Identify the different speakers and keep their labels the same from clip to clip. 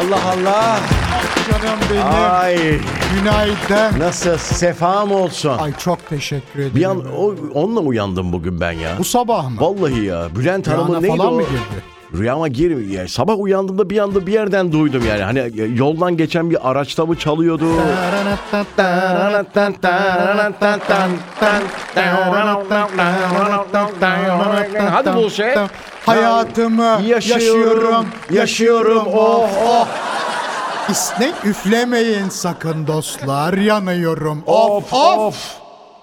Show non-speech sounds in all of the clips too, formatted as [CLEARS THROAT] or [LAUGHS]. Speaker 1: Allah Allah.
Speaker 2: Canım benim.
Speaker 1: Ay
Speaker 2: Günaydın.
Speaker 1: nasıl sefam olsun.
Speaker 2: Ay çok teşekkür ederim.
Speaker 1: Bir an o, onunla uyandım bugün ben ya.
Speaker 2: Bu sabah mı?
Speaker 1: Vallahi ya Bülent
Speaker 2: Rüyana
Speaker 1: Hanım'ın neydi
Speaker 2: falan
Speaker 1: o?
Speaker 2: mı girdi?
Speaker 1: Rüyama girmiyor. Yani sabah uyandığımda bir anda bir yerden duydum yani. Hani yoldan geçen bir araçta mı çalıyordu? Hadi şey. Buse.
Speaker 2: Hayatımı yaşıyorum, yaşıyorum. Oh.
Speaker 1: oh.
Speaker 2: İsnek üflemeyin sakın dostlar. Yanıyorum.
Speaker 1: Of
Speaker 2: Of of.
Speaker 1: of.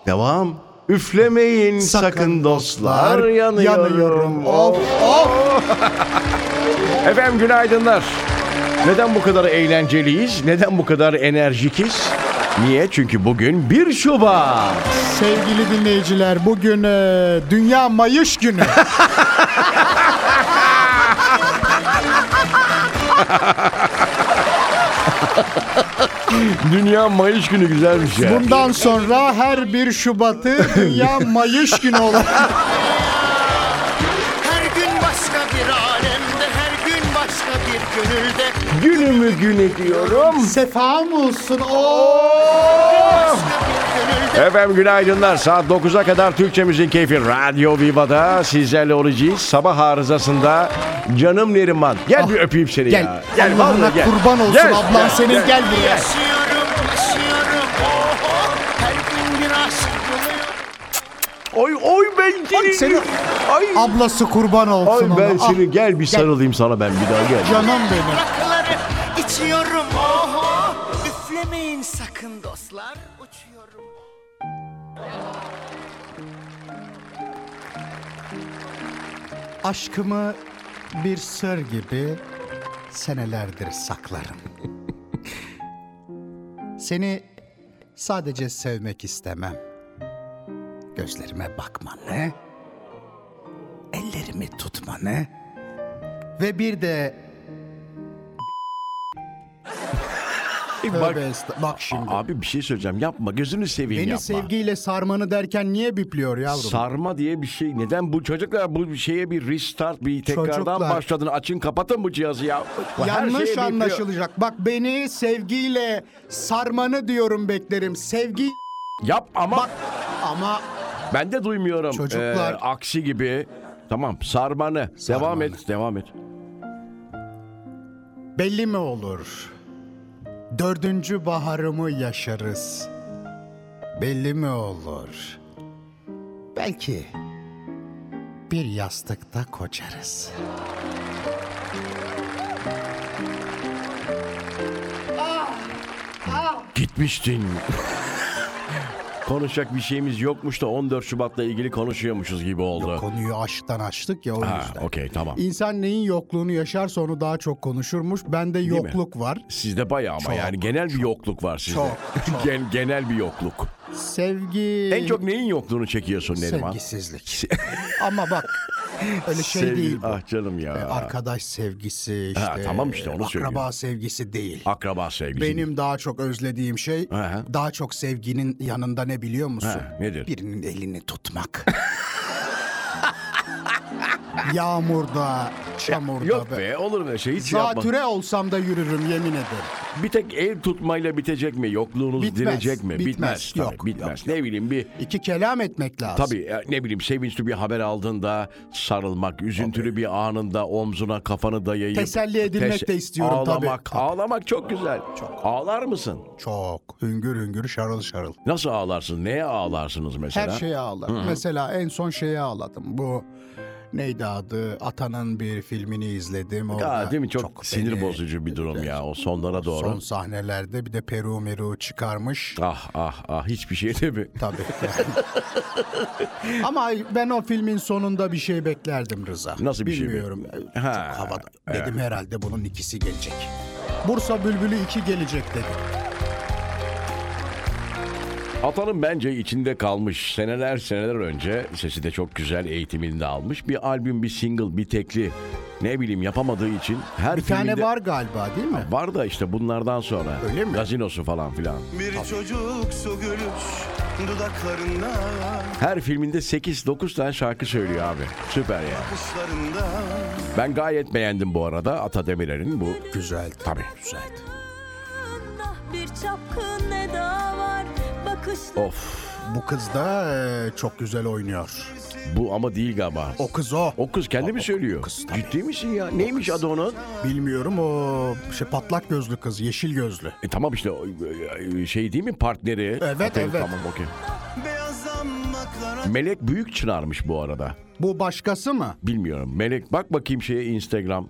Speaker 1: Devam. Üflemeyin sakın, dostlar. Yanıyorum.
Speaker 2: Yanıyorum. Of of.
Speaker 1: Efendim günaydınlar. Neden bu kadar eğlenceliyiz? Neden bu kadar enerjikiz? Niye? Çünkü bugün 1 Şubat.
Speaker 2: Sevgili dinleyiciler bugün e, Dünya
Speaker 1: [LAUGHS]
Speaker 2: Mayış Günü.
Speaker 1: Dünya Mayıs günü güzelmiş ya.
Speaker 2: Bundan sonra her bir Şubat'ı
Speaker 1: [LAUGHS]
Speaker 2: Dünya Mayış Günü olarak
Speaker 3: Her gün başka bir alemde, her gün başka bir gönülde,
Speaker 1: Günümü gün ediyorum.
Speaker 2: sefam olsun. Oh.
Speaker 3: gönülde.
Speaker 1: Oh! Efendim günaydınlar. Saat 9'a kadar Türkçemizin keyfi Radyo Viva'da sizlerle olacağız. Sabah arızasında canım Neriman. Gel bir öpeyim seni
Speaker 2: Ah, Gel.
Speaker 1: ya.
Speaker 2: Allah'ına
Speaker 1: vallahi gel.
Speaker 2: kurban olsun
Speaker 1: Gel,
Speaker 2: ablan
Speaker 1: gel,
Speaker 2: senin gel, buraya.
Speaker 3: Yaşıyorum, yaşıyorum, oho. Her gün bir aşk buluyorum.
Speaker 1: Oy oy ben seni.
Speaker 2: seni-
Speaker 1: Ay,
Speaker 2: Ablası kurban
Speaker 1: ay
Speaker 2: olsun
Speaker 1: ben
Speaker 2: ona. Ah,
Speaker 1: seni gel bir sarılayım sana ben bir daha gel.
Speaker 2: canım benim.
Speaker 3: Rakıları içiyorum, oho. Üflemeyin sakın dostlar, uçuyorum.
Speaker 2: Aşkımı bir sır gibi senelerdir saklarım. Seni sadece sevmek istemem. Gözlerime bakmanı, ellerimi tutmanı ve bir de
Speaker 1: bak-
Speaker 2: Tövbe esta- bak şimdi.
Speaker 1: Abi bir şey söyleyeceğim yapma gözünü seveyim
Speaker 2: Beni
Speaker 1: yapma.
Speaker 2: sevgiyle sarmanı derken niye bipliyor yavrum?
Speaker 1: Sarma diye bir şey. Neden bu çocuklar bu şeye bir restart bir tekrardan
Speaker 2: Çocuklar.
Speaker 1: başladın açın kapatın bu cihazı ya. Bu her şeye
Speaker 2: Yanlış
Speaker 1: bir-
Speaker 2: anlaşılacak. Bak beni sevgiyle sarmanı diyorum beklerim. Sevgi
Speaker 1: Yap ama
Speaker 2: ama
Speaker 1: ben de duymuyorum.
Speaker 2: Çocuklar.
Speaker 1: Ee, aksi gibi. Tamam sarmanı. Devam
Speaker 2: Sarmanı.
Speaker 1: et devam et.
Speaker 2: belli mi olur? Dördüncü baharımı yaşarız. Belli mi olur? Belki bir yastıkta kocarız.
Speaker 1: Gitmiştin. Konuşacak bir şeyimiz yokmuş da 14 Şubat'la ilgili konuşuyormuşuz gibi oldu.
Speaker 2: Konuyu aşktan açtık ya o
Speaker 1: ha,
Speaker 2: yüzden.
Speaker 1: okey tamam.
Speaker 2: İnsan neyin yokluğunu yaşarsa onu daha çok konuşurmuş. Bende
Speaker 1: mi?
Speaker 2: yokluk var.
Speaker 1: Sizde bayağı ama
Speaker 2: Çok,
Speaker 1: yani genel bir yokluk var sizde.
Speaker 2: çok,
Speaker 1: [LAUGHS]
Speaker 2: çok.
Speaker 1: Gen- genel bir yokluk.
Speaker 2: Sevgi...
Speaker 1: En çok neyin yokluğunu çekiyorsun Neriman? Şey.
Speaker 2: Sevgisizlik. [LAUGHS] Ama bak öyle şey
Speaker 1: Sevgi-
Speaker 2: değil. bu. E,
Speaker 1: Ah canım ya.
Speaker 2: Arkadaş sevgisi işte.
Speaker 1: tamam işte, onu
Speaker 2: akraba
Speaker 1: söylüyorum.
Speaker 2: sevgisi değil.
Speaker 1: Akraba sevgisi.
Speaker 2: Benim daha çok özlediğim şey
Speaker 1: Aha.
Speaker 2: daha çok sevginin yanında ne biliyor musun?
Speaker 1: Ha, nedir?
Speaker 2: Birinin elini tutmak. [LAUGHS] Yağmurda, çamurda.
Speaker 1: Yok
Speaker 2: be.
Speaker 1: be olur mu öyle şey hiç yapma.
Speaker 2: Zatüre olsam da yürürüm yemin ederim.
Speaker 1: Bir tek el tutmayla bitecek mi? Yokluğunuz
Speaker 2: Bitmez,
Speaker 1: dinecek mi?
Speaker 2: bitmez,
Speaker 1: tabii,
Speaker 2: yok,
Speaker 1: bitmez.
Speaker 2: yok,
Speaker 1: Ne bileyim bir
Speaker 2: İki kelam etmek lazım.
Speaker 1: Tabii e, ne bileyim sevinçli bir haber aldığında sarılmak, üzüntülü bir anında omzuna kafanı dayayıp
Speaker 2: Teselli edilmek de istiyorum tabii,
Speaker 1: ağlamak,
Speaker 2: tabii.
Speaker 1: Ağlamak çok güzel. Ağlar mısın?
Speaker 2: Çok hüngür hüngür şarıl şarıl.
Speaker 1: Nasıl ağlarsın? Neye ağlarsınız mesela?
Speaker 2: Her şeye ağlar. Mesela en son şeye ağladım. Bu neydi adı? Atanın bir filmini izledim. Orada
Speaker 1: Aa, değil mi? Çok, sinir
Speaker 2: beni-
Speaker 1: bozucu bir durum ya o sonlara doğru.
Speaker 2: Son sahnelerde bir de Peru Meru
Speaker 1: [LAUGHS]
Speaker 2: çıkarmış.
Speaker 1: Ah ah ah hiçbir şey değil mi?
Speaker 2: Tabii. yani. Ama ben o filmin sonunda bir şey beklerdim Rıza.
Speaker 1: Nasıl bir şey
Speaker 2: Bilmiyorum.
Speaker 1: bekledin? Ha,
Speaker 2: Çok havada. Dedim herhalde bunun ikisi gelecek. Bursa Bülbülü 2 gelecek dedim.
Speaker 1: Atanın bence içinde kalmış seneler seneler önce sesi de çok güzel eğitimini de almış. Bir albüm, bir single, bir tekli ne bileyim yapamadığı için her
Speaker 2: Bir
Speaker 1: filminde...
Speaker 2: tane var galiba değil mi?
Speaker 1: Var da işte bunlardan sonra.
Speaker 2: Öyle mi?
Speaker 1: Gazinosu falan filan.
Speaker 4: Bir çocuksu gülüş Dudaklarında,
Speaker 1: Her filminde 8-9 tane şarkı söylüyor abi. Süper ya.
Speaker 4: kuşlarında
Speaker 1: Ben gayet beğendim bu arada Ata Demirer'in bu
Speaker 2: Güzeldi.
Speaker 1: Tabii.
Speaker 2: Güzeldi.
Speaker 5: Yanında bir çapkın eda var bakışlar
Speaker 1: Of.
Speaker 2: Bu kız da e, çok güzel oynuyor.
Speaker 1: Bu ama değil galiba.
Speaker 2: O kız o.
Speaker 1: O kız kendi mi söylüyor?
Speaker 2: kız tabii.
Speaker 1: Ciddi misin ya? Neymiş adı onun?
Speaker 2: Bilmiyorum o şey patlak gözlü kız, yeşil gözlü.
Speaker 1: E tamam işte o, e, şey değil mi partneri?
Speaker 2: Evet,
Speaker 1: Okey,
Speaker 2: evet.
Speaker 1: Tamam okey.
Speaker 4: beyaz damlaklara
Speaker 1: Melek Büyük Çınar'mış bu arada.
Speaker 2: Bu başkası mı?
Speaker 1: Bilmiyorum. Melek bak bakayım şeye Instagram.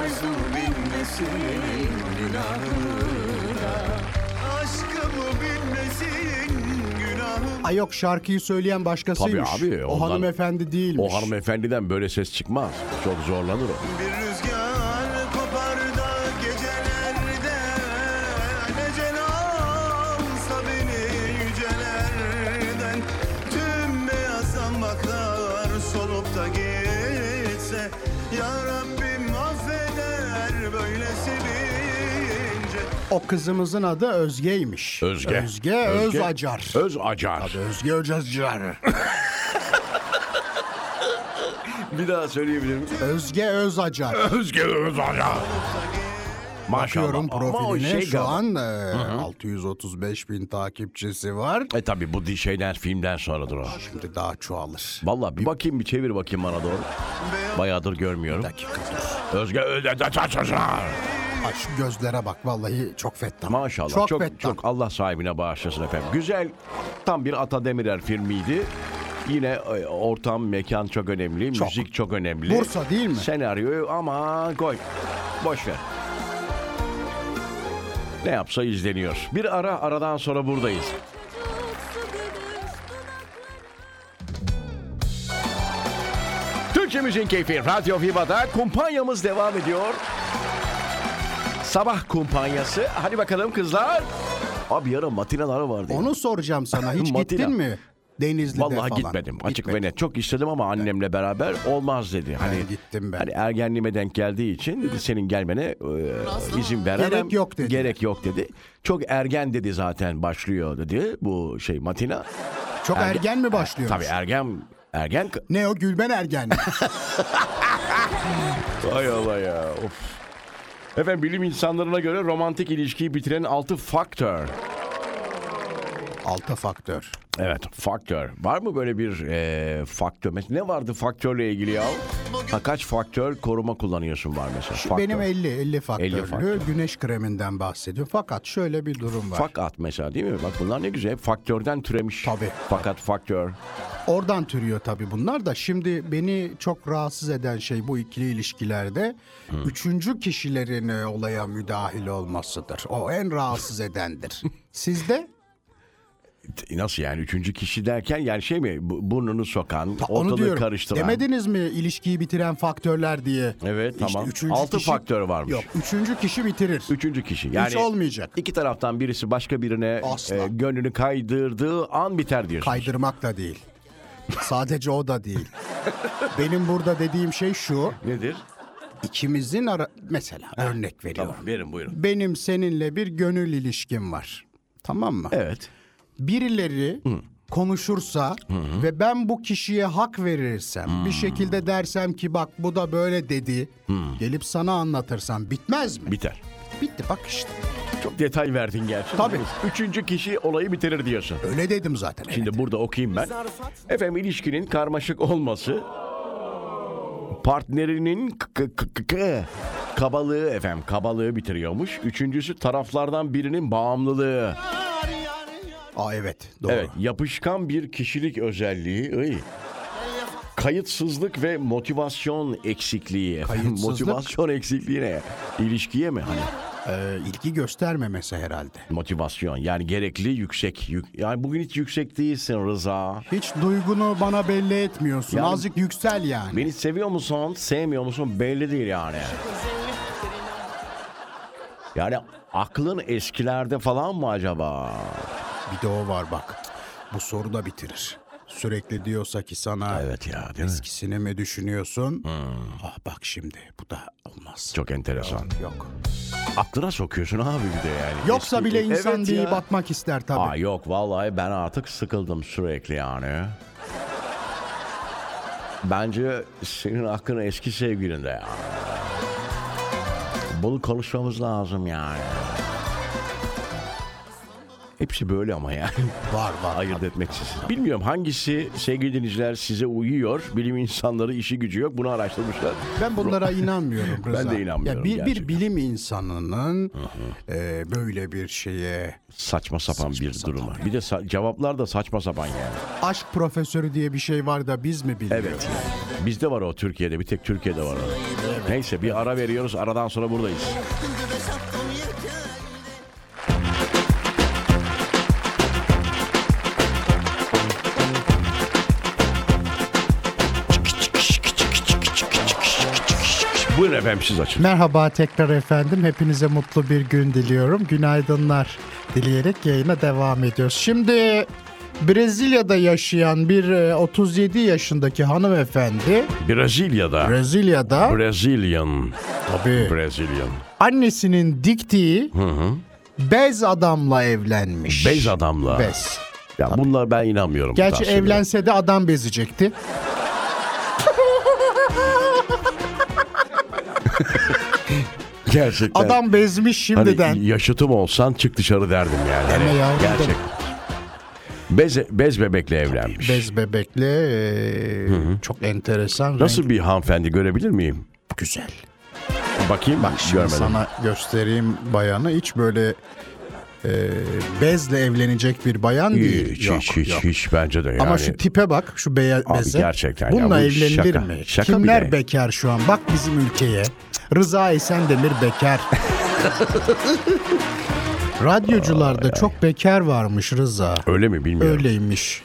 Speaker 4: arzu bilmesin Aşkımı bilmesin günahım
Speaker 2: Ay yok şarkıyı söyleyen başkasıymış.
Speaker 1: Tabii abi,
Speaker 2: O
Speaker 1: ondan-
Speaker 2: hanımefendi değilmiş.
Speaker 1: O hanımefendiden böyle ses çıkmaz. Çok zorlanır o.
Speaker 4: Bir rüzgar kopar da gecelerde Ecel alsa beni yücelerden Tüm beyaz zambaklar solup da gitse Ya Rabbim affeder böyle sevince
Speaker 2: O kızımızın adı Özge'ymiş.
Speaker 1: Özge.
Speaker 2: Özge, Öz Acar.
Speaker 1: Öz Acar.
Speaker 2: Özge Öz Acar.
Speaker 1: Bir daha söyleyebilirim.
Speaker 2: Özge Öz Acar.
Speaker 1: [LAUGHS] Özge Öz Acar. Maşallah.
Speaker 2: Bakıyorum
Speaker 1: Ama o
Speaker 2: profiline
Speaker 1: şey
Speaker 2: şu
Speaker 1: galiba-
Speaker 2: an e, 635 bin takipçisi var.
Speaker 1: E tabi bu di- şeyler filmden sonradır o.
Speaker 2: Şimdi daha çoğalır.
Speaker 1: Vallahi bir bakayım bir çevir bakayım bana doğru. Bayağıdır görmüyorum. Özge Özge Acar.
Speaker 2: Ay şu gözlere bak vallahi çok fettan.
Speaker 1: Maşallah
Speaker 2: Çok,
Speaker 1: çok çok,
Speaker 2: fettan.
Speaker 1: Allah sahibine bağışlasın efendim. Güzel tam bir Ata Demirer filmiydi. Yine e, ortam, mekan çok önemli,
Speaker 2: Çok.
Speaker 1: müzik çok önemli.
Speaker 2: Bursa değil mi?
Speaker 1: Senaryoyu ama koy. Boş ver. Ne yapsa izleniyor. Bir ara aradan sonra buradayız.
Speaker 5: çocuksu gülüş dudakları
Speaker 1: Türkçemizin keyfi Radyo Viva'da kumpanyamız devam ediyor. Sabah kumpanyası. Hadi bakalım kızlar. Abi yarın matinaları vardı. ya.
Speaker 2: Onu soracağım sana.
Speaker 1: [LAUGHS]
Speaker 2: Hiç
Speaker 1: Matina.
Speaker 2: gittin mi? Denizli'de
Speaker 1: Vallahi
Speaker 2: falan.
Speaker 1: gitmedim. Açık
Speaker 2: Gitmedin.
Speaker 1: ve net. Çok istedim ama annemle beraber olmaz dedi. Hani
Speaker 2: gittim ben.
Speaker 1: Hani ergenliğime denk geldiği için dedi senin gelmene e, izin veremem.
Speaker 2: Gerek yok dedi.
Speaker 1: Gerek yok dedi. Çok ergen dedi zaten başlıyor dedi bu şey matina.
Speaker 2: Çok ergen, mi başlıyor?
Speaker 1: Tabii ergen ergen.
Speaker 2: Ne o Gülben
Speaker 1: [LAUGHS]
Speaker 2: Ergen? mi?
Speaker 1: Ay Allah ya. Of. Efendim bilim insanlarına göre romantik ilişkiyi bitiren altı faktör.
Speaker 2: Altı faktör.
Speaker 1: Evet faktör. Var mı böyle bir e, faktör? Mes- Ne vardı faktörle ilgili ya? Ha, kaç faktör koruma kullanıyorsun var mesela? Faktör.
Speaker 2: Benim 50 50 faktörlü
Speaker 1: 50 faktör.
Speaker 2: güneş kreminden bahsediyorum. Fakat şöyle bir durum var.
Speaker 1: Fakat mesela değil mi? Bak bunlar ne güzel. Hep faktörden türemiş.
Speaker 2: Tabii.
Speaker 1: Fakat faktör.
Speaker 2: Oradan türüyor tabii bunlar da. Şimdi beni çok rahatsız eden şey bu ikili ilişkilerde üçüncü kişilerin e, olaya müdahil olmasıdır. O en
Speaker 1: [LAUGHS]
Speaker 2: rahatsız edendir. Sizde?
Speaker 1: E, Nasıl yani? Üçüncü kişi derken yani şey mi? Bu- Burnunu sokan,
Speaker 2: Onu
Speaker 1: ortalığı
Speaker 2: diyorum.
Speaker 1: karıştıran.
Speaker 2: Demediniz mi ilişkiyi bitiren faktörler diye?
Speaker 1: Evet, tamam.
Speaker 2: üçüncü
Speaker 1: Altı faktör varmış.
Speaker 2: Yok üçüncü kişi bitirir.
Speaker 1: Üçüncü kişi. Yani
Speaker 2: olmayacak.
Speaker 1: İki taraftan birisi başka birine
Speaker 2: Asla.
Speaker 1: e, gönlünü kaydırdığı an biter diyorsun.
Speaker 2: Kaydırmak da değil. Sadece o
Speaker 1: [LAUGHS]
Speaker 2: da değil. Benim burada dediğim şey şu.
Speaker 1: Nedir?
Speaker 2: İkimizin ara... Mesela örnek veriyorum.
Speaker 1: Tamam verin buyurun.
Speaker 2: Benim seninle bir gönül ilişkim var. Tamam mı?
Speaker 1: Evet.
Speaker 2: Birileri konuşursa ve ben bu kişiye hak verirsem,
Speaker 1: Hmm.
Speaker 2: bir şekilde dersem ki bak bu da böyle dedi. Gelip sana anlatırsam bitmez mi?
Speaker 1: Biter.
Speaker 2: Bitti bak işte.
Speaker 1: Çok detay verdin gerçi.
Speaker 2: Tabii.
Speaker 1: Üçüncü kişi olayı bitirir diyorsun.
Speaker 2: Öyle dedim zaten.
Speaker 1: Şimdi burada okuyayım ben. Efendim ilişkinin karmaşık olması partnerinin k- k- k- k- kabalığı efendim kabalığı bitiriyormuş. Üçüncüsü taraflardan birinin bağımlılığı.
Speaker 2: Aa evet doğru.
Speaker 1: Evet yapışkan bir kişilik özelliği. Iy. Kayıtsızlık ve motivasyon eksikliği. efendim.
Speaker 2: Kayıtsızlık?
Speaker 1: motivasyon eksikliği ne? İlişkiye mi? Hani
Speaker 2: Ee, ilgi göstermemesi herhalde.
Speaker 1: motivasyon yani gerekli yüksek. yük- Yani bugün hiç yüksek değilsin Rıza.
Speaker 2: Hiç duygunu bana belli etmiyorsun.
Speaker 1: Yani-
Speaker 2: Azıcık yüksel yani.
Speaker 1: Beni seviyor musun, sevmiyor musun belli değil yani. Yani aklın eskilerde falan mı acaba?
Speaker 2: Bir de o var bak. Bu soru da bitirir. Sürekli diyorsa ki sana
Speaker 1: Evet Hmm. ya değil mi?
Speaker 2: eskisini mi düşünüyorsun? Ah bak şimdi bu da olmaz.
Speaker 1: Çok enteresan.
Speaker 2: Yok.
Speaker 1: aklına sokuyorsun abi bir de yani.
Speaker 2: Yoksa bile insan
Speaker 1: Evet
Speaker 2: değil
Speaker 1: ya.
Speaker 2: batmak ister tabii.
Speaker 1: Aa yok vallahi ben artık sıkıldım sürekli yani. Bence senin hakkın eski sevgilinde yani. Bunu konuşmamız lazım yani. Hepsi böyle ama yani.
Speaker 2: Var
Speaker 1: [LAUGHS]
Speaker 2: var.
Speaker 1: Ayırt etmeksiz. Bilmiyorum hangisi sevgili dinleyiciler size uyuyor. Bilim insanları işi gücü yok. Bunu araştırmışlar. [LAUGHS]
Speaker 2: Ben bunlara inanmıyorum Rıza.
Speaker 1: de inanmıyorum
Speaker 2: Ya bir, bir
Speaker 1: gerçekten.
Speaker 2: bilim insanının e, böyle bir şeye
Speaker 1: Saçma sapan bir duruma. Bir de sa- cevaplar da saçma sapan yani.
Speaker 2: aşk profesörü diye bir şey var da biz mi biliyoruz?
Speaker 1: Evet. Bizde var o Türkiye'de. Bir tek Türkiye'de var o. Neyse bir ara veriyoruz. Aradan sonra buradayız. Buyurun efendim siz açın.
Speaker 2: Merhaba tekrar efendim. Hepinize mutlu bir gün diliyorum. Günaydınlar dileyerek yayına devam ediyoruz. Şimdi Brezilya'da yaşayan bir e, 37 yaşındaki hanımefendi
Speaker 1: Brezilya'da.
Speaker 2: Brezilya'da
Speaker 1: Brazilian.
Speaker 2: tabii
Speaker 1: Brazilian.
Speaker 2: annesinin diktiği bez adamla evlenmiş.
Speaker 1: Bez adamla.
Speaker 2: Bez.
Speaker 1: Ya bunlar ben inanmıyorum. bu
Speaker 2: Gerçi
Speaker 1: tarz şeylere.
Speaker 2: evlense de adam bezecekti.
Speaker 1: Gerçekten.
Speaker 2: Adam bezmiş
Speaker 1: Hani
Speaker 2: şimdiden.
Speaker 1: yaşıtım olsan çık dışarı derdim yani. Hani
Speaker 2: Deme ya,
Speaker 1: Gerçek.
Speaker 2: deme.
Speaker 1: Bez, bez bebekle evlenmiş.
Speaker 2: Bez bebekle e, çok enteresan.
Speaker 1: Nasıl bir hanımefendi görebilir miyim?
Speaker 2: renk güzel.
Speaker 1: Bakayım.
Speaker 2: Bak şimdi
Speaker 1: Görmedim.
Speaker 2: sana göstereyim bayanı. Hiç böyle e, bezle evlenecek bir bayan değil.
Speaker 1: Hiç,
Speaker 2: Yok,
Speaker 1: hiç, hiç,
Speaker 2: yok.
Speaker 1: hiç bence de yani.
Speaker 2: Ama şu tipe bak, şu beya,
Speaker 1: Abi
Speaker 2: beze.
Speaker 1: gerçekten ya,
Speaker 2: Bununla
Speaker 1: bu
Speaker 2: evlenilir
Speaker 1: şaka,
Speaker 2: mi?
Speaker 1: şaka
Speaker 2: Kimler
Speaker 1: bile.
Speaker 2: bekar şu an? Bak bizim ülkeye. Rıza Esendemir
Speaker 1: [LAUGHS]
Speaker 2: bekar. Radyocularda çok bekar varmış Rıza.
Speaker 1: Öyle mi bilmiyorum.
Speaker 2: Öyleymiş.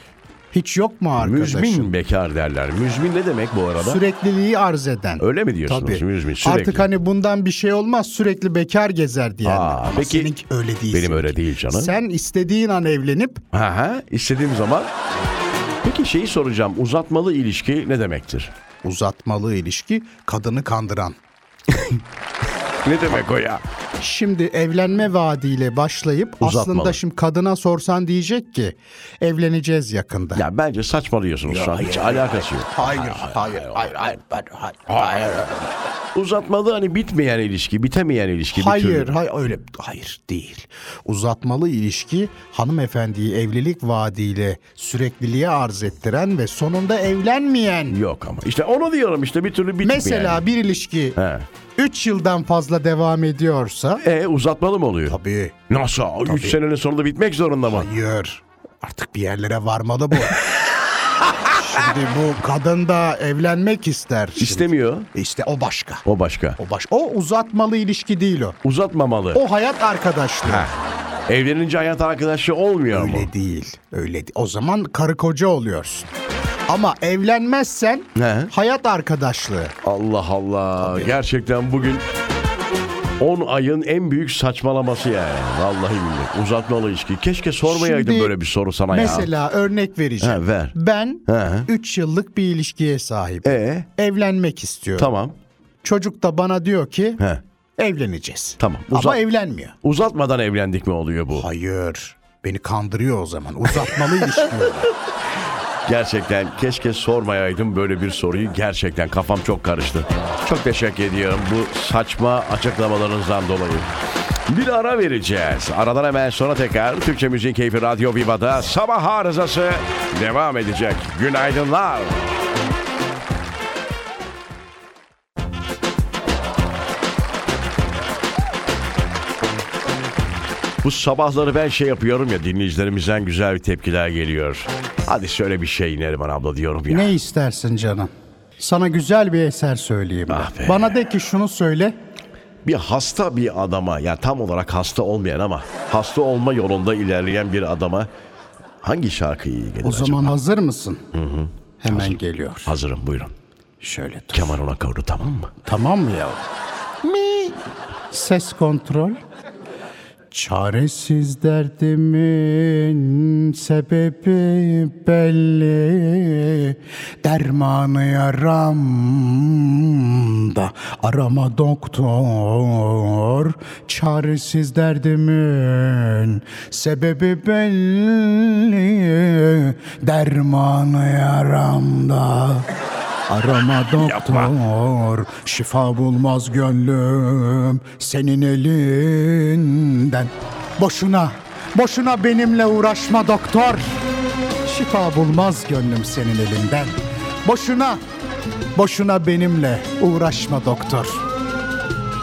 Speaker 2: Hiç yok mu arkadaşın?
Speaker 1: Müzmin bekar derler. Müzmin ne demek bu arada?
Speaker 2: Sürekliliği arz eden.
Speaker 1: Öyle mi diyorsunuz? Müzmin sürekli.
Speaker 2: Artık hani bundan bir şey olmaz sürekli bekar gezer diyenler.
Speaker 1: Aa,
Speaker 2: Ama
Speaker 1: peki-
Speaker 2: seninki öyle değil.
Speaker 1: Benim öyle değil canım.
Speaker 2: Sen istediğin an evlenip
Speaker 1: Ha ha istediğim zaman. Peki şeyi soracağım. Uzatmalı ilişki ne demektir?
Speaker 2: uzatmalı ilişki kadını kandıran.
Speaker 1: Ne demek o ya?
Speaker 2: Şimdi evlenme vaadiyle başlayıp
Speaker 1: Uzatmalı.
Speaker 2: aslında şimdi kadına sorsan diyecek ki evleneceğiz yakında.
Speaker 1: Ya bence saçmalıyorsunuz şu an. Hiç alakası yok.
Speaker 2: Hayır, hayır, hayır, hayır, hayır, hayır,
Speaker 1: Uzatmalı hani bitmeyen ilişki, bitemeyen ilişki. bir
Speaker 2: hayır,
Speaker 1: türlü.
Speaker 2: hayır, öyle hayır değil. Uzatmalı ilişki hanımefendiyi evlilik vaadiyle sürekliliğe arz ettiren ve sonunda evlenmeyen
Speaker 1: Yok ama. İşte onu diyorum işte bir türlü bitmeyen.
Speaker 2: Mesela bir ilişki
Speaker 1: He.
Speaker 2: 3 yıldan fazla devam ediyorsa
Speaker 1: E uzatmalı mı oluyor?
Speaker 2: tabii
Speaker 1: Nasıl? 3 senenin sonunda bitmek zorunda mı?
Speaker 2: hayır artık bir yerlere varmalı bu. [LAUGHS] Şimdi bu kadın da evlenmek ister. Şimdi.
Speaker 1: İstemiyor.
Speaker 2: İşte o başka.
Speaker 1: O başka.
Speaker 2: O baş. O uzatmalı ilişki değil o.
Speaker 1: Uzatmamalı.
Speaker 2: O hayat arkadaşlığı.
Speaker 1: Evlenince hayat arkadaşı olmuyor mu?
Speaker 2: Öyle değil. Öyle değil. O zaman karı koca oluyorsun. Ama evlenmezsen
Speaker 1: He.
Speaker 2: hayat arkadaşlığı.
Speaker 1: Allah Allah. Gerçekten bugün 10 ayın en büyük saçmalaması yani. Vallahi billahi. Uzatmalı ilişki. Keşke sormayaydın
Speaker 2: Şimdi
Speaker 1: böyle bir soru sana ya.
Speaker 2: Mesela örnek vereceğim.
Speaker 1: He, ver.
Speaker 2: Ben
Speaker 1: He.
Speaker 2: 3 yıllık bir ilişkiye sahibim.
Speaker 1: E
Speaker 2: Evlenmek istiyorum.
Speaker 1: tamam.
Speaker 2: Çocuk da bana diyor ki
Speaker 1: He.
Speaker 2: evleneceğiz.
Speaker 1: Tamam.
Speaker 2: Ama
Speaker 1: Uzat-
Speaker 2: evlenmiyor.
Speaker 1: Uzatmadan evlendik mi oluyor bu?
Speaker 2: Hayır. Beni kandırıyor o zaman. Uzatmalı ilişki.
Speaker 1: Gerçekten keşke sormayaydım böyle bir soruyu. Gerçekten kafam çok karıştı. Çok teşekkür ediyorum bu saçma açıklamalarınızdan dolayı. Bir ara vereceğiz. Aradan hemen sonra tekrar Türkçe Müziğin Keyfi Radyo Viva'da sabah arızası devam edecek. Günaydınlar. Bu sabahları ben şey yapıyorum ya dinleyicilerimizden güzel bir tepkiler geliyor. Hadi söyle bir şey Neriman abla diyorum ya.
Speaker 2: [LAUGHS] ne istersin canım? Sana güzel bir eser söyleyeyim. ben.
Speaker 1: Ah be.
Speaker 2: Bana de ki şunu söyle.
Speaker 1: bir hasta bir adama ya tam olarak hasta olmayan ama hasta olma yolunda ilerleyen bir adama hangi şarkı iyi gelir
Speaker 2: O zaman
Speaker 1: acaba?
Speaker 2: hazır mısın? Hemen geliyor.
Speaker 1: Hazırım buyurun.
Speaker 2: Şöyle dur.
Speaker 1: Kemal ona kavru tamam mı?
Speaker 2: Tamam mı ya? Mi? Ses kontrol. Çaresiz derdimin sebebi belli Dermanı yaramda arama doktor Çaresiz derdimin sebebi belli Dermanı yaramda arama doktor Şifa bulmaz gönlüm senin elinden Boşuna, boşuna benimle uğraşma doktor Şifa bulmaz gönlüm senin elinden Boşuna, boşuna benimle uğraşma doktor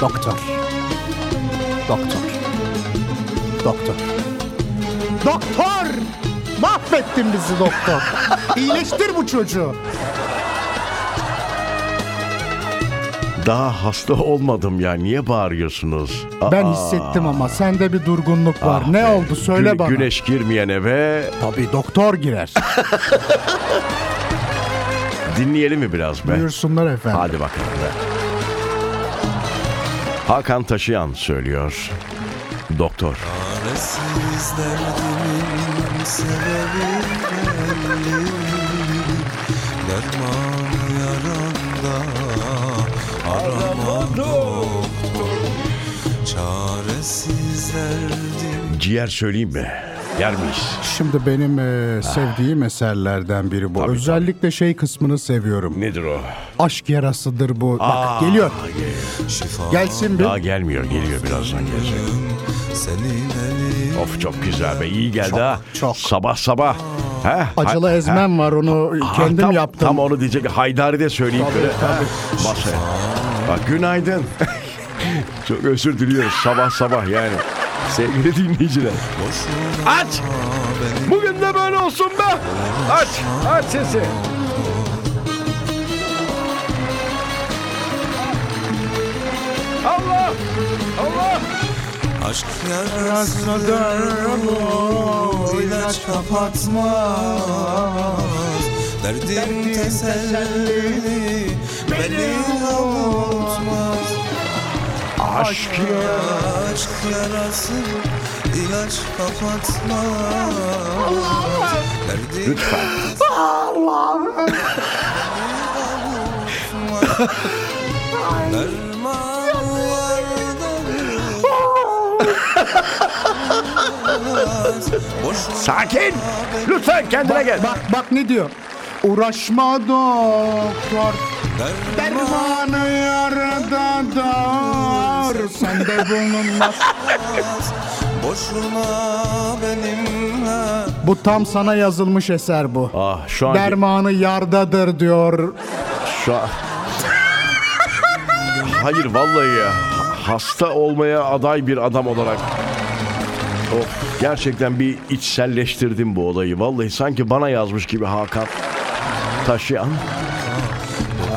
Speaker 2: Doktor Doktor Doktor Doktor! Mahvettin bizi doktor. İyileştir bu çocuğu.
Speaker 1: Daha hasta olmadım ya. Niye bağırıyorsunuz? Aa, Ah
Speaker 2: Ben hissettim ama sende bir durgunluk var. ne oldu söyle
Speaker 1: gü-
Speaker 2: bana.
Speaker 1: Güneş girmeyen eve
Speaker 2: Tabii doktor girer.
Speaker 1: dinleyelim mi biraz [LAUGHS] be?
Speaker 2: Buyursunlar efendim.
Speaker 1: Hadi bakalım be. Hakan Taşıyan söylüyor. Doktor.
Speaker 4: Siz derdimin sebebi belli Derman yaranda arama doktor Çaresiz derdim
Speaker 1: Ciğer söyleyeyim mi? Yer miyiz?
Speaker 2: Şimdi benim
Speaker 1: Ah.
Speaker 2: e, sevdiğim eserlerden biri bu. Özellikle şey kısmını seviyorum.
Speaker 1: Nedir o?
Speaker 2: Aşk yarasıdır bu.
Speaker 1: Ah.
Speaker 2: Bak geliyor. Gelsin bir.
Speaker 1: Daha gelmiyor. Geliyor birazdan gelecek.
Speaker 4: senin elin
Speaker 1: Of çok güzel be. iyi geldi ha.
Speaker 2: çok.
Speaker 1: Sabah sabah. Heh,
Speaker 2: Acılı
Speaker 1: ha- ha.
Speaker 2: ezmem var onu
Speaker 1: Ah,
Speaker 2: kendim
Speaker 1: tam,
Speaker 2: yaptım.
Speaker 1: Tam onu diyecek. Haydari de söyleyeyim.
Speaker 2: Tabii,
Speaker 1: böyle.
Speaker 2: tabii.
Speaker 1: Ha, Masaya. Bak, günaydın. [LAUGHS] Çok özür diliyoruz sabah sabah yani. Sevgili dinleyiciler. Aç! Bugün de böyle olsun be! Aç! Aç sesi! Allah! Allah!
Speaker 4: Aşk yarasıdır bu ilaç kapatmaz Derdin teselli beni avutmaz
Speaker 1: Aşk
Speaker 4: Aşk yarası ilaç kapatmaz Derdin
Speaker 1: Lütfen.
Speaker 4: [LAUGHS] Dermanlardan Boşuna
Speaker 1: Sakin! Lütfen kendine gel.
Speaker 2: Bak bak ne diyor. Uğraşma doktor. Dermanı yaradadır. Sende bulunmaz.
Speaker 4: Boşuna benimle
Speaker 2: bu tam sana yazılmış eser bu.
Speaker 1: Ah şu an
Speaker 2: Dermanı yardadır diyor.
Speaker 1: Şu an- Hayır vallahi ya. Hasta olmaya aday bir adam olarak. Of, gerçekten bir içselleştirdim bu olayı. Vallahi sanki bana yazmış gibi Hakan Taşıyan.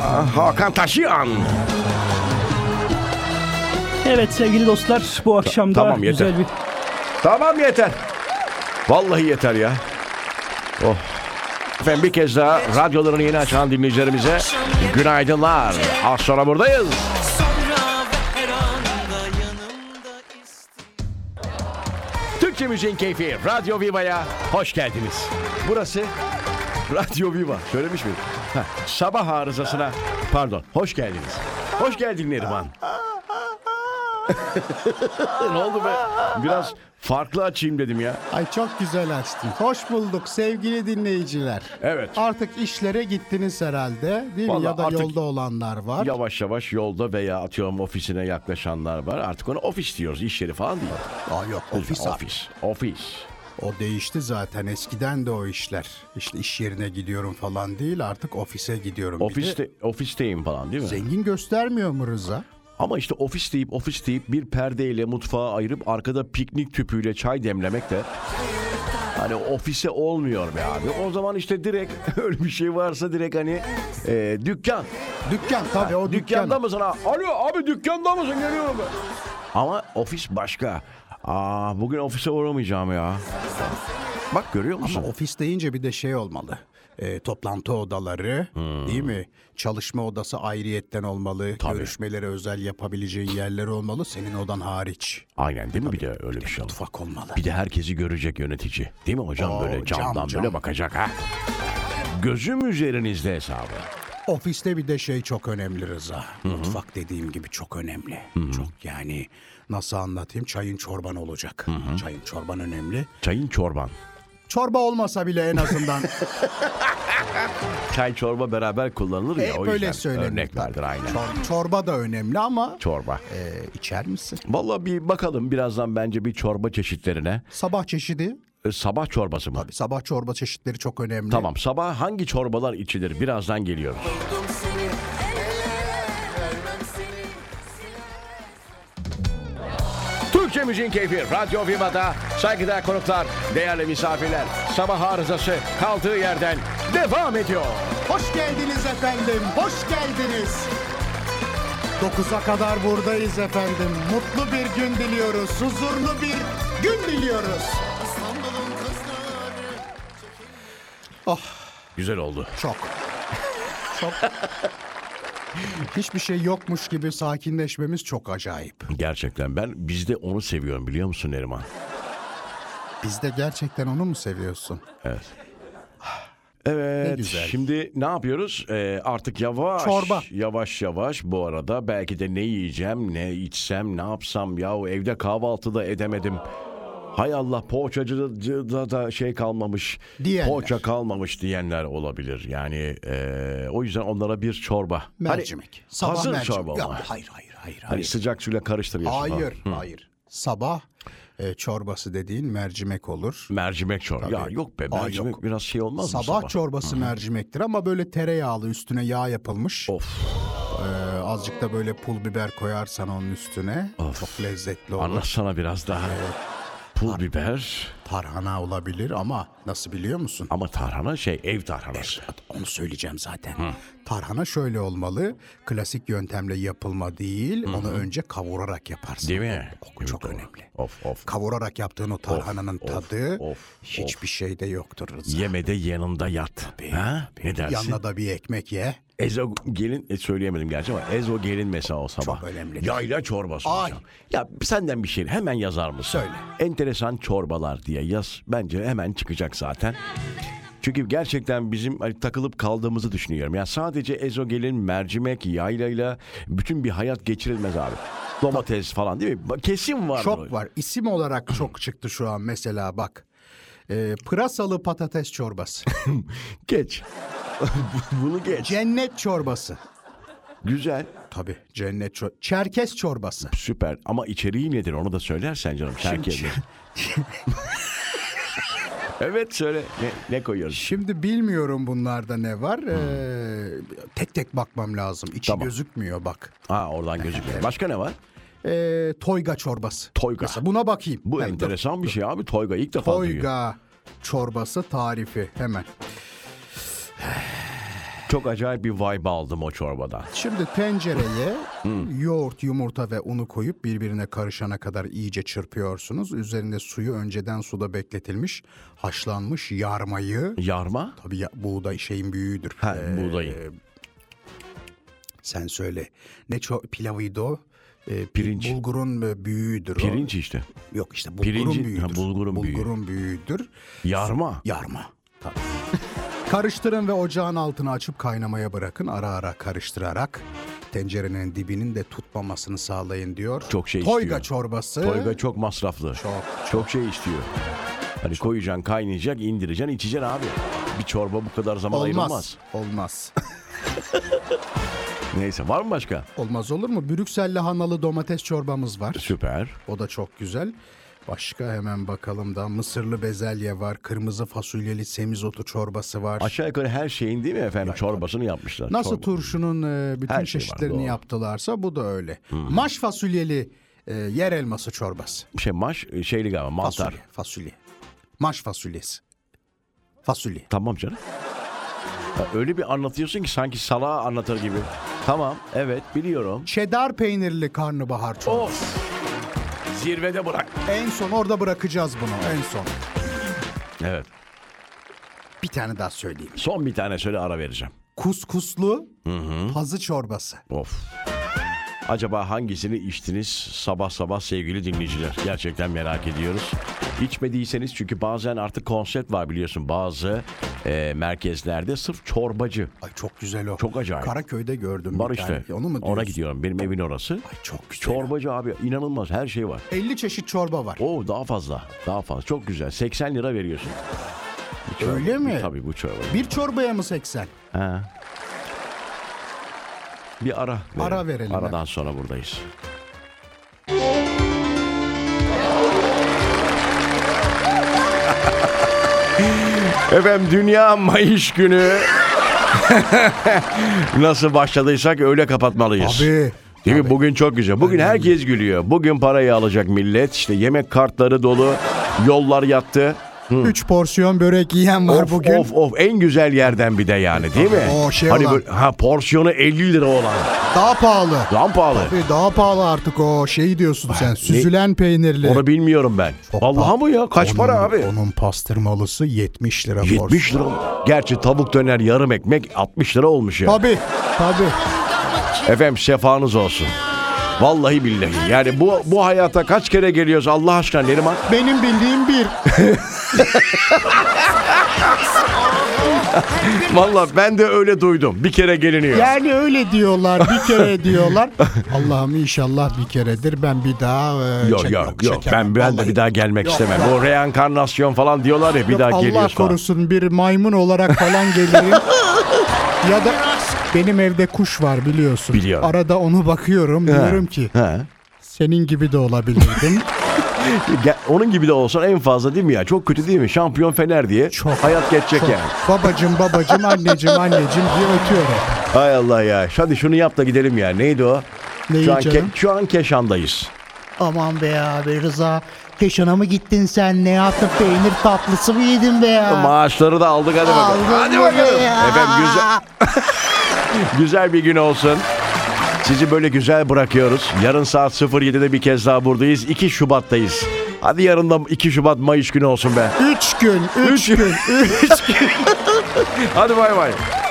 Speaker 1: Ah, Hakan Taşıyan.
Speaker 6: Evet sevgili dostlar bu akşam da
Speaker 1: tamam, yeter.
Speaker 6: güzel bir
Speaker 1: Tamam yeter. Vallahi yeter ya. Oh. Efendim bir kez daha radyolarını yeni açan dinleyicilerimize günaydınlar. Az sonra buradayız. Türkçe Müziğin Keyfi Radyo Viva'ya hoş geldiniz. Burası Radyo Viva. Söylemiş miyim? Ha, sabah arızasına pardon. Hoş geldiniz. Hoş geldin Neriman. [LAUGHS] ne oldu be? Biraz farklı açayım dedim ya.
Speaker 2: Ay çok güzel açtın. Hoş bulduk sevgili dinleyiciler.
Speaker 1: Evet.
Speaker 2: Artık işlere gittiniz herhalde değil
Speaker 1: Vallahi
Speaker 2: mi? Ya da
Speaker 1: artık-
Speaker 2: yolda olanlar var.
Speaker 1: Yavaş yavaş yolda veya atıyorum ofisine yaklaşanlar var. Artık ona ofis diyoruz. iş yeri falan değil.
Speaker 2: Aa, yok ofis abi.
Speaker 1: Ofis. Ofis.
Speaker 2: O değişti zaten eskiden de o işler. İşte iş yerine gidiyorum falan değil artık ofise gidiyorum. Bir de
Speaker 1: Ofiste, ofisteyim falan değil mi?
Speaker 2: Zengin göstermiyor mu Rıza?
Speaker 1: Ama işte ofis deyip ofis deyip bir perdeyle mutfağa ayırıp arkada piknik tüpüyle çay demlemek de hani ofise olmuyor be abi. O zaman işte direkt [LAUGHS] öyle bir şey varsa direkt hani e, dükkan.
Speaker 2: Dükkan tabii o dükkan.
Speaker 1: Dükkanda mısın ha? Alo abi dükkanda mısın? Geliyorum ben. Ama ofis başka. Aa bugün ofise uğramayacağım ya. Bak görüyor musun?
Speaker 2: Ofis deyince bir de şey olmalı. e, toplantı odaları değil mi? Çalışma odası ayrıyetten olmalı. Görüşmeleri özel yapabileceğin yerler olmalı. Senin odan hariç.
Speaker 1: Aynen değil mi bir de öyle bir şey oldu.
Speaker 2: Mutfak olmalı.
Speaker 1: Bir de herkesi görecek yönetici. Değil mi hocam
Speaker 2: Oo,
Speaker 1: böyle
Speaker 2: cam,
Speaker 1: camdan
Speaker 2: cam.
Speaker 1: böyle bakacak ha. Gözüm üzerinizde hesabı.
Speaker 2: Ofiste bir de şey çok önemli Rıza. Mutfak dediğim gibi çok önemli. Çok yani nasıl anlatayım? Çayın çorban olacak. Çayın çorban önemli.
Speaker 1: Çayın çorban.
Speaker 2: Çorba olmasa bile en azından
Speaker 1: Çay çorba beraber kullanılır ya
Speaker 2: Hep
Speaker 1: o
Speaker 2: öyle
Speaker 1: yüzden
Speaker 2: E, söylenir.
Speaker 1: örneklerdir aynen.
Speaker 2: çor- çorba da önemli ama
Speaker 1: Çorba.
Speaker 2: e, içer misin?
Speaker 1: Vallahi bir bakalım birazdan bence bir çorba çeşitlerine.
Speaker 2: Sabah çeşidi.
Speaker 1: E, sabah çorbası mı?
Speaker 2: Sabah çorba çeşitleri çok önemli.
Speaker 1: Tamam sabah hangi çorbalar içilir birazdan geliyoruz.
Speaker 5: Buldum seni ellere vermem seni sile-
Speaker 1: Türkçe Müziğin Keyfi Radyo Viva'da saygıdeğer konuklar, değerli misafirler, sabah arızası kaldığı yerden devam ediyor.
Speaker 2: Hoş geldiniz efendim. Hoş geldiniz. 9'a kadar buradayız efendim. Mutlu bir gün diliyoruz. Huzurlu bir gün diliyoruz.
Speaker 3: İstanbul'un kızları
Speaker 1: Güzel oldu.
Speaker 2: Çok. Çok. [LAUGHS] Hiçbir şey yokmuş gibi sakinleşmemiz çok acayip.
Speaker 1: Gerçekten ben bizde onu seviyorum biliyor musun Neriman?
Speaker 2: Biz de gerçekten onu mu seviyorsun?
Speaker 1: Evet. Evet.
Speaker 2: Ne güzel.
Speaker 1: Şimdi ne yapıyoruz? Ee, artık yavaş
Speaker 2: Çorba.
Speaker 1: yavaş yavaş bu arada belki de ne yiyeceğim, ne içsem, ne yapsam yahu evde kahvaltı da edemedim. Hay Allah poğaçacıda da, da şey kalmamış.
Speaker 2: Diyenler.
Speaker 1: Poğaça kalmamış diyenler olabilir. Yani ee, o yüzden onlara bir çorba. Hani
Speaker 2: Mercimek. Sabah
Speaker 1: hazır
Speaker 2: mercimek.
Speaker 1: çorba
Speaker 2: Ya,
Speaker 1: ama.
Speaker 2: hayır hayır hayır.
Speaker 1: Hani
Speaker 2: hayır.
Speaker 1: sıcak suyla karıştırıyorsun. falan.
Speaker 2: Hayır, hayır. Sabah e, çorbası dediğin mercimek olur.
Speaker 1: Mercimek çorba. Ya yok be
Speaker 2: Aa,
Speaker 1: mercimek
Speaker 2: yok.
Speaker 1: biraz şey olmaz
Speaker 2: sabah,
Speaker 1: mı sabah?
Speaker 2: çorbası mercimektir ama böyle tereyağlı üstüne yağ yapılmış.
Speaker 1: Of.
Speaker 2: E, azıcık da böyle pul biber koyarsan onun üstüne çok lezzetli olur.
Speaker 1: Anlatsana biraz daha. Pul biber
Speaker 2: Tarhana olabilir ama nasıl biliyor musun?
Speaker 1: ama tarhana şey ev tarhanası.
Speaker 2: Onu söyleyeceğim zaten. Tarhana şöyle olmalı. Klasik yöntemle yapılma değil. Onu önce kavurarak yaparsın.
Speaker 1: Değil mi?
Speaker 2: O çok
Speaker 1: Evet, doğru.
Speaker 2: önemli.
Speaker 1: Of of.
Speaker 2: Kavurarak yaptığın o tarhananın
Speaker 1: of,
Speaker 2: tadı
Speaker 1: of,
Speaker 2: hiçbir şeyde yoktur Rıza.
Speaker 1: Yemede yanında yat. ha? Ne dersin?
Speaker 2: Yanına da bir ekmek ye.
Speaker 1: Ezo gelin e, söyleyemedim gerçi ama Ezo gelin mesela o sabah.
Speaker 2: önemli.
Speaker 1: Yayla çorbası.
Speaker 2: Ay.
Speaker 1: hocam. Ya senden bir şey hemen yazar mısın?
Speaker 2: Söyle.
Speaker 1: Enteresan çorbalar diye yaz. Bence hemen çıkacak zaten. Çünkü gerçekten bizim hani, takılıp kaldığımızı düşünüyorum. Ya sadece Ezo gelin, mercimek, yaylayla bütün bir hayat geçirilmez abi. Domates falan değil mi? Kesin var.
Speaker 2: Çok var. İsim olarak
Speaker 1: [CLEARS THROAT]
Speaker 2: çok çıktı şu an mesela bak. Ee, pırasalı patates çorbası.
Speaker 1: [LAUGHS] Geç. [LAUGHS] Bunu geç.
Speaker 2: cennet çorbası.
Speaker 1: Güzel.
Speaker 2: Tabii cennet çorbası. Çerkes çorbası.
Speaker 1: Süper. Ama içeriği nedir onu da söylersen canım. Şerkez.
Speaker 2: [LAUGHS]
Speaker 1: evet söyle. Ne, ne koyuyoruz?
Speaker 2: Şimdi bilmiyorum bunlarda ne var. Ee, tek tek bakmam lazım. İçi
Speaker 1: Hmm. Tamam.
Speaker 2: gözükmüyor bak.
Speaker 1: Ha oradan gözüküyor. Başka ne var?
Speaker 2: Ee, toyga çorbası.
Speaker 1: Toyga.
Speaker 2: Mesela buna bakayım.
Speaker 1: Bu
Speaker 2: Hemen dur.
Speaker 1: enteresan bir şey abi. Toyga ilk defa duyuyor.
Speaker 2: Toyga çorbası tarifi hemen.
Speaker 1: Çok acayip bir vibe aldım o çorbadan.
Speaker 2: Şimdi tencereye yoğurt, yumurta ve unu koyup birbirine karışana kadar iyice çırpıyorsunuz. Üzerinde suyu önceden suda bekletilmiş haşlanmış yarmayı.
Speaker 1: Yarma?
Speaker 2: Tabii ya, buğday şeyin büyüğüdür.
Speaker 1: Ha
Speaker 2: Ee,
Speaker 1: buğdayın.
Speaker 2: Sen söyle. Ne ço- pilavıydı o? Ee, pi-
Speaker 1: Pirinç.
Speaker 2: Bulgurun e, büyüğüdür o.
Speaker 1: Pirinç işte.
Speaker 2: Yok işte bulgurun
Speaker 1: Pirincin-
Speaker 2: büyüğüdür.
Speaker 1: ha, bulgurun büyüğü.
Speaker 2: büyüğüdür.
Speaker 1: Yarma.
Speaker 2: Yarma. Tabii. [LAUGHS] Karıştırın ve ocağın altını açıp kaynamaya bırakın. Ara ara karıştırarak tencerenin dibinin de tutmamasını sağlayın diyor.
Speaker 1: Çok şey
Speaker 2: Toyga
Speaker 1: istiyor.
Speaker 2: çorbası.
Speaker 1: Toyga çok masraflı.
Speaker 2: Ee? Çok.
Speaker 1: Çok şey istiyor. Hani koyacaksın, kaynayacak, indireceksin, içeceksin abi. Bir çorba bu kadar zaman ayrılmaz.
Speaker 2: olmaz. Olmaz. [LAUGHS]
Speaker 1: Neyse var mı başka?
Speaker 2: olmaz olur mu? Brüksel lahanalı domates çorbamız var.
Speaker 1: Süper.
Speaker 2: O da çok güzel. Başka hemen bakalım da mısırlı bezelye var, kırmızı fasulyeli semizotu çorbası var.
Speaker 1: Aşağı yukarı her şeyin değil mi efendim çorbasını yapmışlar.
Speaker 2: Nasıl
Speaker 1: Çorba.
Speaker 2: turşunun e, bütün
Speaker 1: Her şey var,
Speaker 2: çeşitlerini
Speaker 1: doğru.
Speaker 2: yaptılarsa bu da öyle. Maş fasulyeli e, yer elması çorbası.
Speaker 1: Şey maş şeyli galiba mantar.
Speaker 2: Fasulye, fasulye. Maş fasulyesi. Fasulye.
Speaker 1: Tamam canım. Ya öyle bir anlatıyorsun ki sanki salağa anlatır gibi. Tamam evet biliyorum.
Speaker 2: Çedar peynirli karnabahar çorbası.
Speaker 1: Of. Zirvede bırak.
Speaker 2: En son orada bırakacağız bunu en son.
Speaker 1: Evet.
Speaker 2: bir tane daha söyleyeyim.
Speaker 1: Son bir tane söyle ara vereceğim.
Speaker 2: Kuskuslu pazı çorbası.
Speaker 1: Of. Acaba hangisini içtiniz sabah sabah sevgili dinleyiciler? Gerçekten merak ediyoruz. İçmediyseniz çünkü bazen artık konsept var biliyorsun bazı e, merkezlerde sırf çorbacı.
Speaker 2: Ay çok güzel o.
Speaker 1: Çok acayip.
Speaker 2: Karaköy'de gördüm.
Speaker 1: Var
Speaker 2: bir tane.
Speaker 1: işte.
Speaker 2: Onu mu diyorsun?
Speaker 1: Ona gidiyorum. Benim evin orası.
Speaker 2: Ay çok güzel.
Speaker 1: Çorbacı abi inanılmaz her şey var.
Speaker 2: 50 çeşit çorba var.
Speaker 1: Oo daha fazla. Daha fazla. Çok güzel. 80 lira veriyorsun. Bu çorba-
Speaker 2: Öyle mi?
Speaker 1: Tabii bu çorba.
Speaker 2: Bir çorbaya mı 80?
Speaker 1: Bir ara verelim.
Speaker 2: Ara verelim,
Speaker 1: Aradan sonra buradayız. [LAUGHS] Efendim Dünya Mayış Günü [LAUGHS] nasıl başladıysak öyle kapatmalıyız.
Speaker 2: Abi.
Speaker 1: Değil mi? Bugün çok güzel. Bugün herkes gülüyor. Bugün parayı alacak millet. İşte yemek kartları dolu. Yollar yattı.
Speaker 2: 3 porsiyon börek yiyen var
Speaker 1: Of
Speaker 2: bugün.
Speaker 1: of of en güzel yerden bir de yani değil mi?
Speaker 2: O şey
Speaker 1: hani
Speaker 2: olan.
Speaker 1: böyle- ha porsiyonu 50 lira olan.
Speaker 2: Daha pahalı.
Speaker 1: Lan pahalı.
Speaker 2: Tabii daha pahalı artık o şey diyorsun sen. Süzülen peynirli.
Speaker 1: Onu bilmiyorum ben.
Speaker 2: Çok
Speaker 1: Allah'a
Speaker 2: pahalı.
Speaker 1: mı ya? Kaç
Speaker 2: Onun-
Speaker 1: para abi?
Speaker 2: Onun pastırmalısı 70 lira
Speaker 1: 70 lira. Gerçi tavuk döner yarım ekmek 60 lira olmuş ya.
Speaker 2: Tabi tabi.
Speaker 1: Efendim sefanız olsun. Vallahi billahi. Yani bu bu hayata kaç kere geliyoruz Allah aşkına Neriman?
Speaker 2: Benim
Speaker 1: [LAUGHS]
Speaker 2: bildiğim bir.
Speaker 1: Vallahi ben de öyle duydum. Bir kere geliniyor.
Speaker 2: Yani öyle diyorlar bir kere diyorlar. Allah'ım inşallah bir keredir ben bir daha e,
Speaker 1: Yok
Speaker 2: çek-
Speaker 1: yok yok.
Speaker 2: çekemem.
Speaker 1: Ben ben de
Speaker 2: Vallahi.
Speaker 1: bir daha gelmek istemem. Bu reenkarnasyon falan diyorlar ya bir daha
Speaker 2: Allah
Speaker 1: geliyoruz falan.
Speaker 2: korusun bir maymun olarak falan
Speaker 1: [LAUGHS]
Speaker 2: gelirim. ya da benim evde kuş var biliyorsun.
Speaker 1: Biliyorum.
Speaker 2: Arada onu bakıyorum diyorum ki
Speaker 1: He.
Speaker 2: senin gibi
Speaker 1: [LAUGHS]
Speaker 2: de olabilirdim.
Speaker 1: Ge- Onun gibi de olsan en fazla değil mi ya? Çok kötü değil mi? Şampiyon Fener diye hayat geçecek
Speaker 2: Çok.
Speaker 1: yani.
Speaker 2: Babacım babacım anneciğim anneciğim diye ötüyorum.
Speaker 1: Hay Allah ya. Hadi şunu yap da gidelim ya. Neydi o?
Speaker 2: Neyi
Speaker 1: şu, an
Speaker 2: canım?
Speaker 1: şu an Keşan'dayız.
Speaker 7: Aman be abi Rıza. Keşan'a mı gittin sen? Ne yaptın? Peynir tatlısı mı yedin be ya?
Speaker 1: Maaşları da aldık hadi bakalım.
Speaker 7: Aldın
Speaker 1: hadi
Speaker 7: mı
Speaker 1: bakalım.
Speaker 7: ya?
Speaker 1: Efendim güzel [LAUGHS] güzel bir gün olsun. Sizi böyle güzel bırakıyoruz. Yarın saat 07'de bir kez daha buradayız. 2 Şubat'tayız. Hadi yarın da 2 Şubat Mayıs günü olsun be.
Speaker 2: Üç gün, üç
Speaker 1: Üç gün.
Speaker 2: gün, üç
Speaker 1: Hadi bay bay.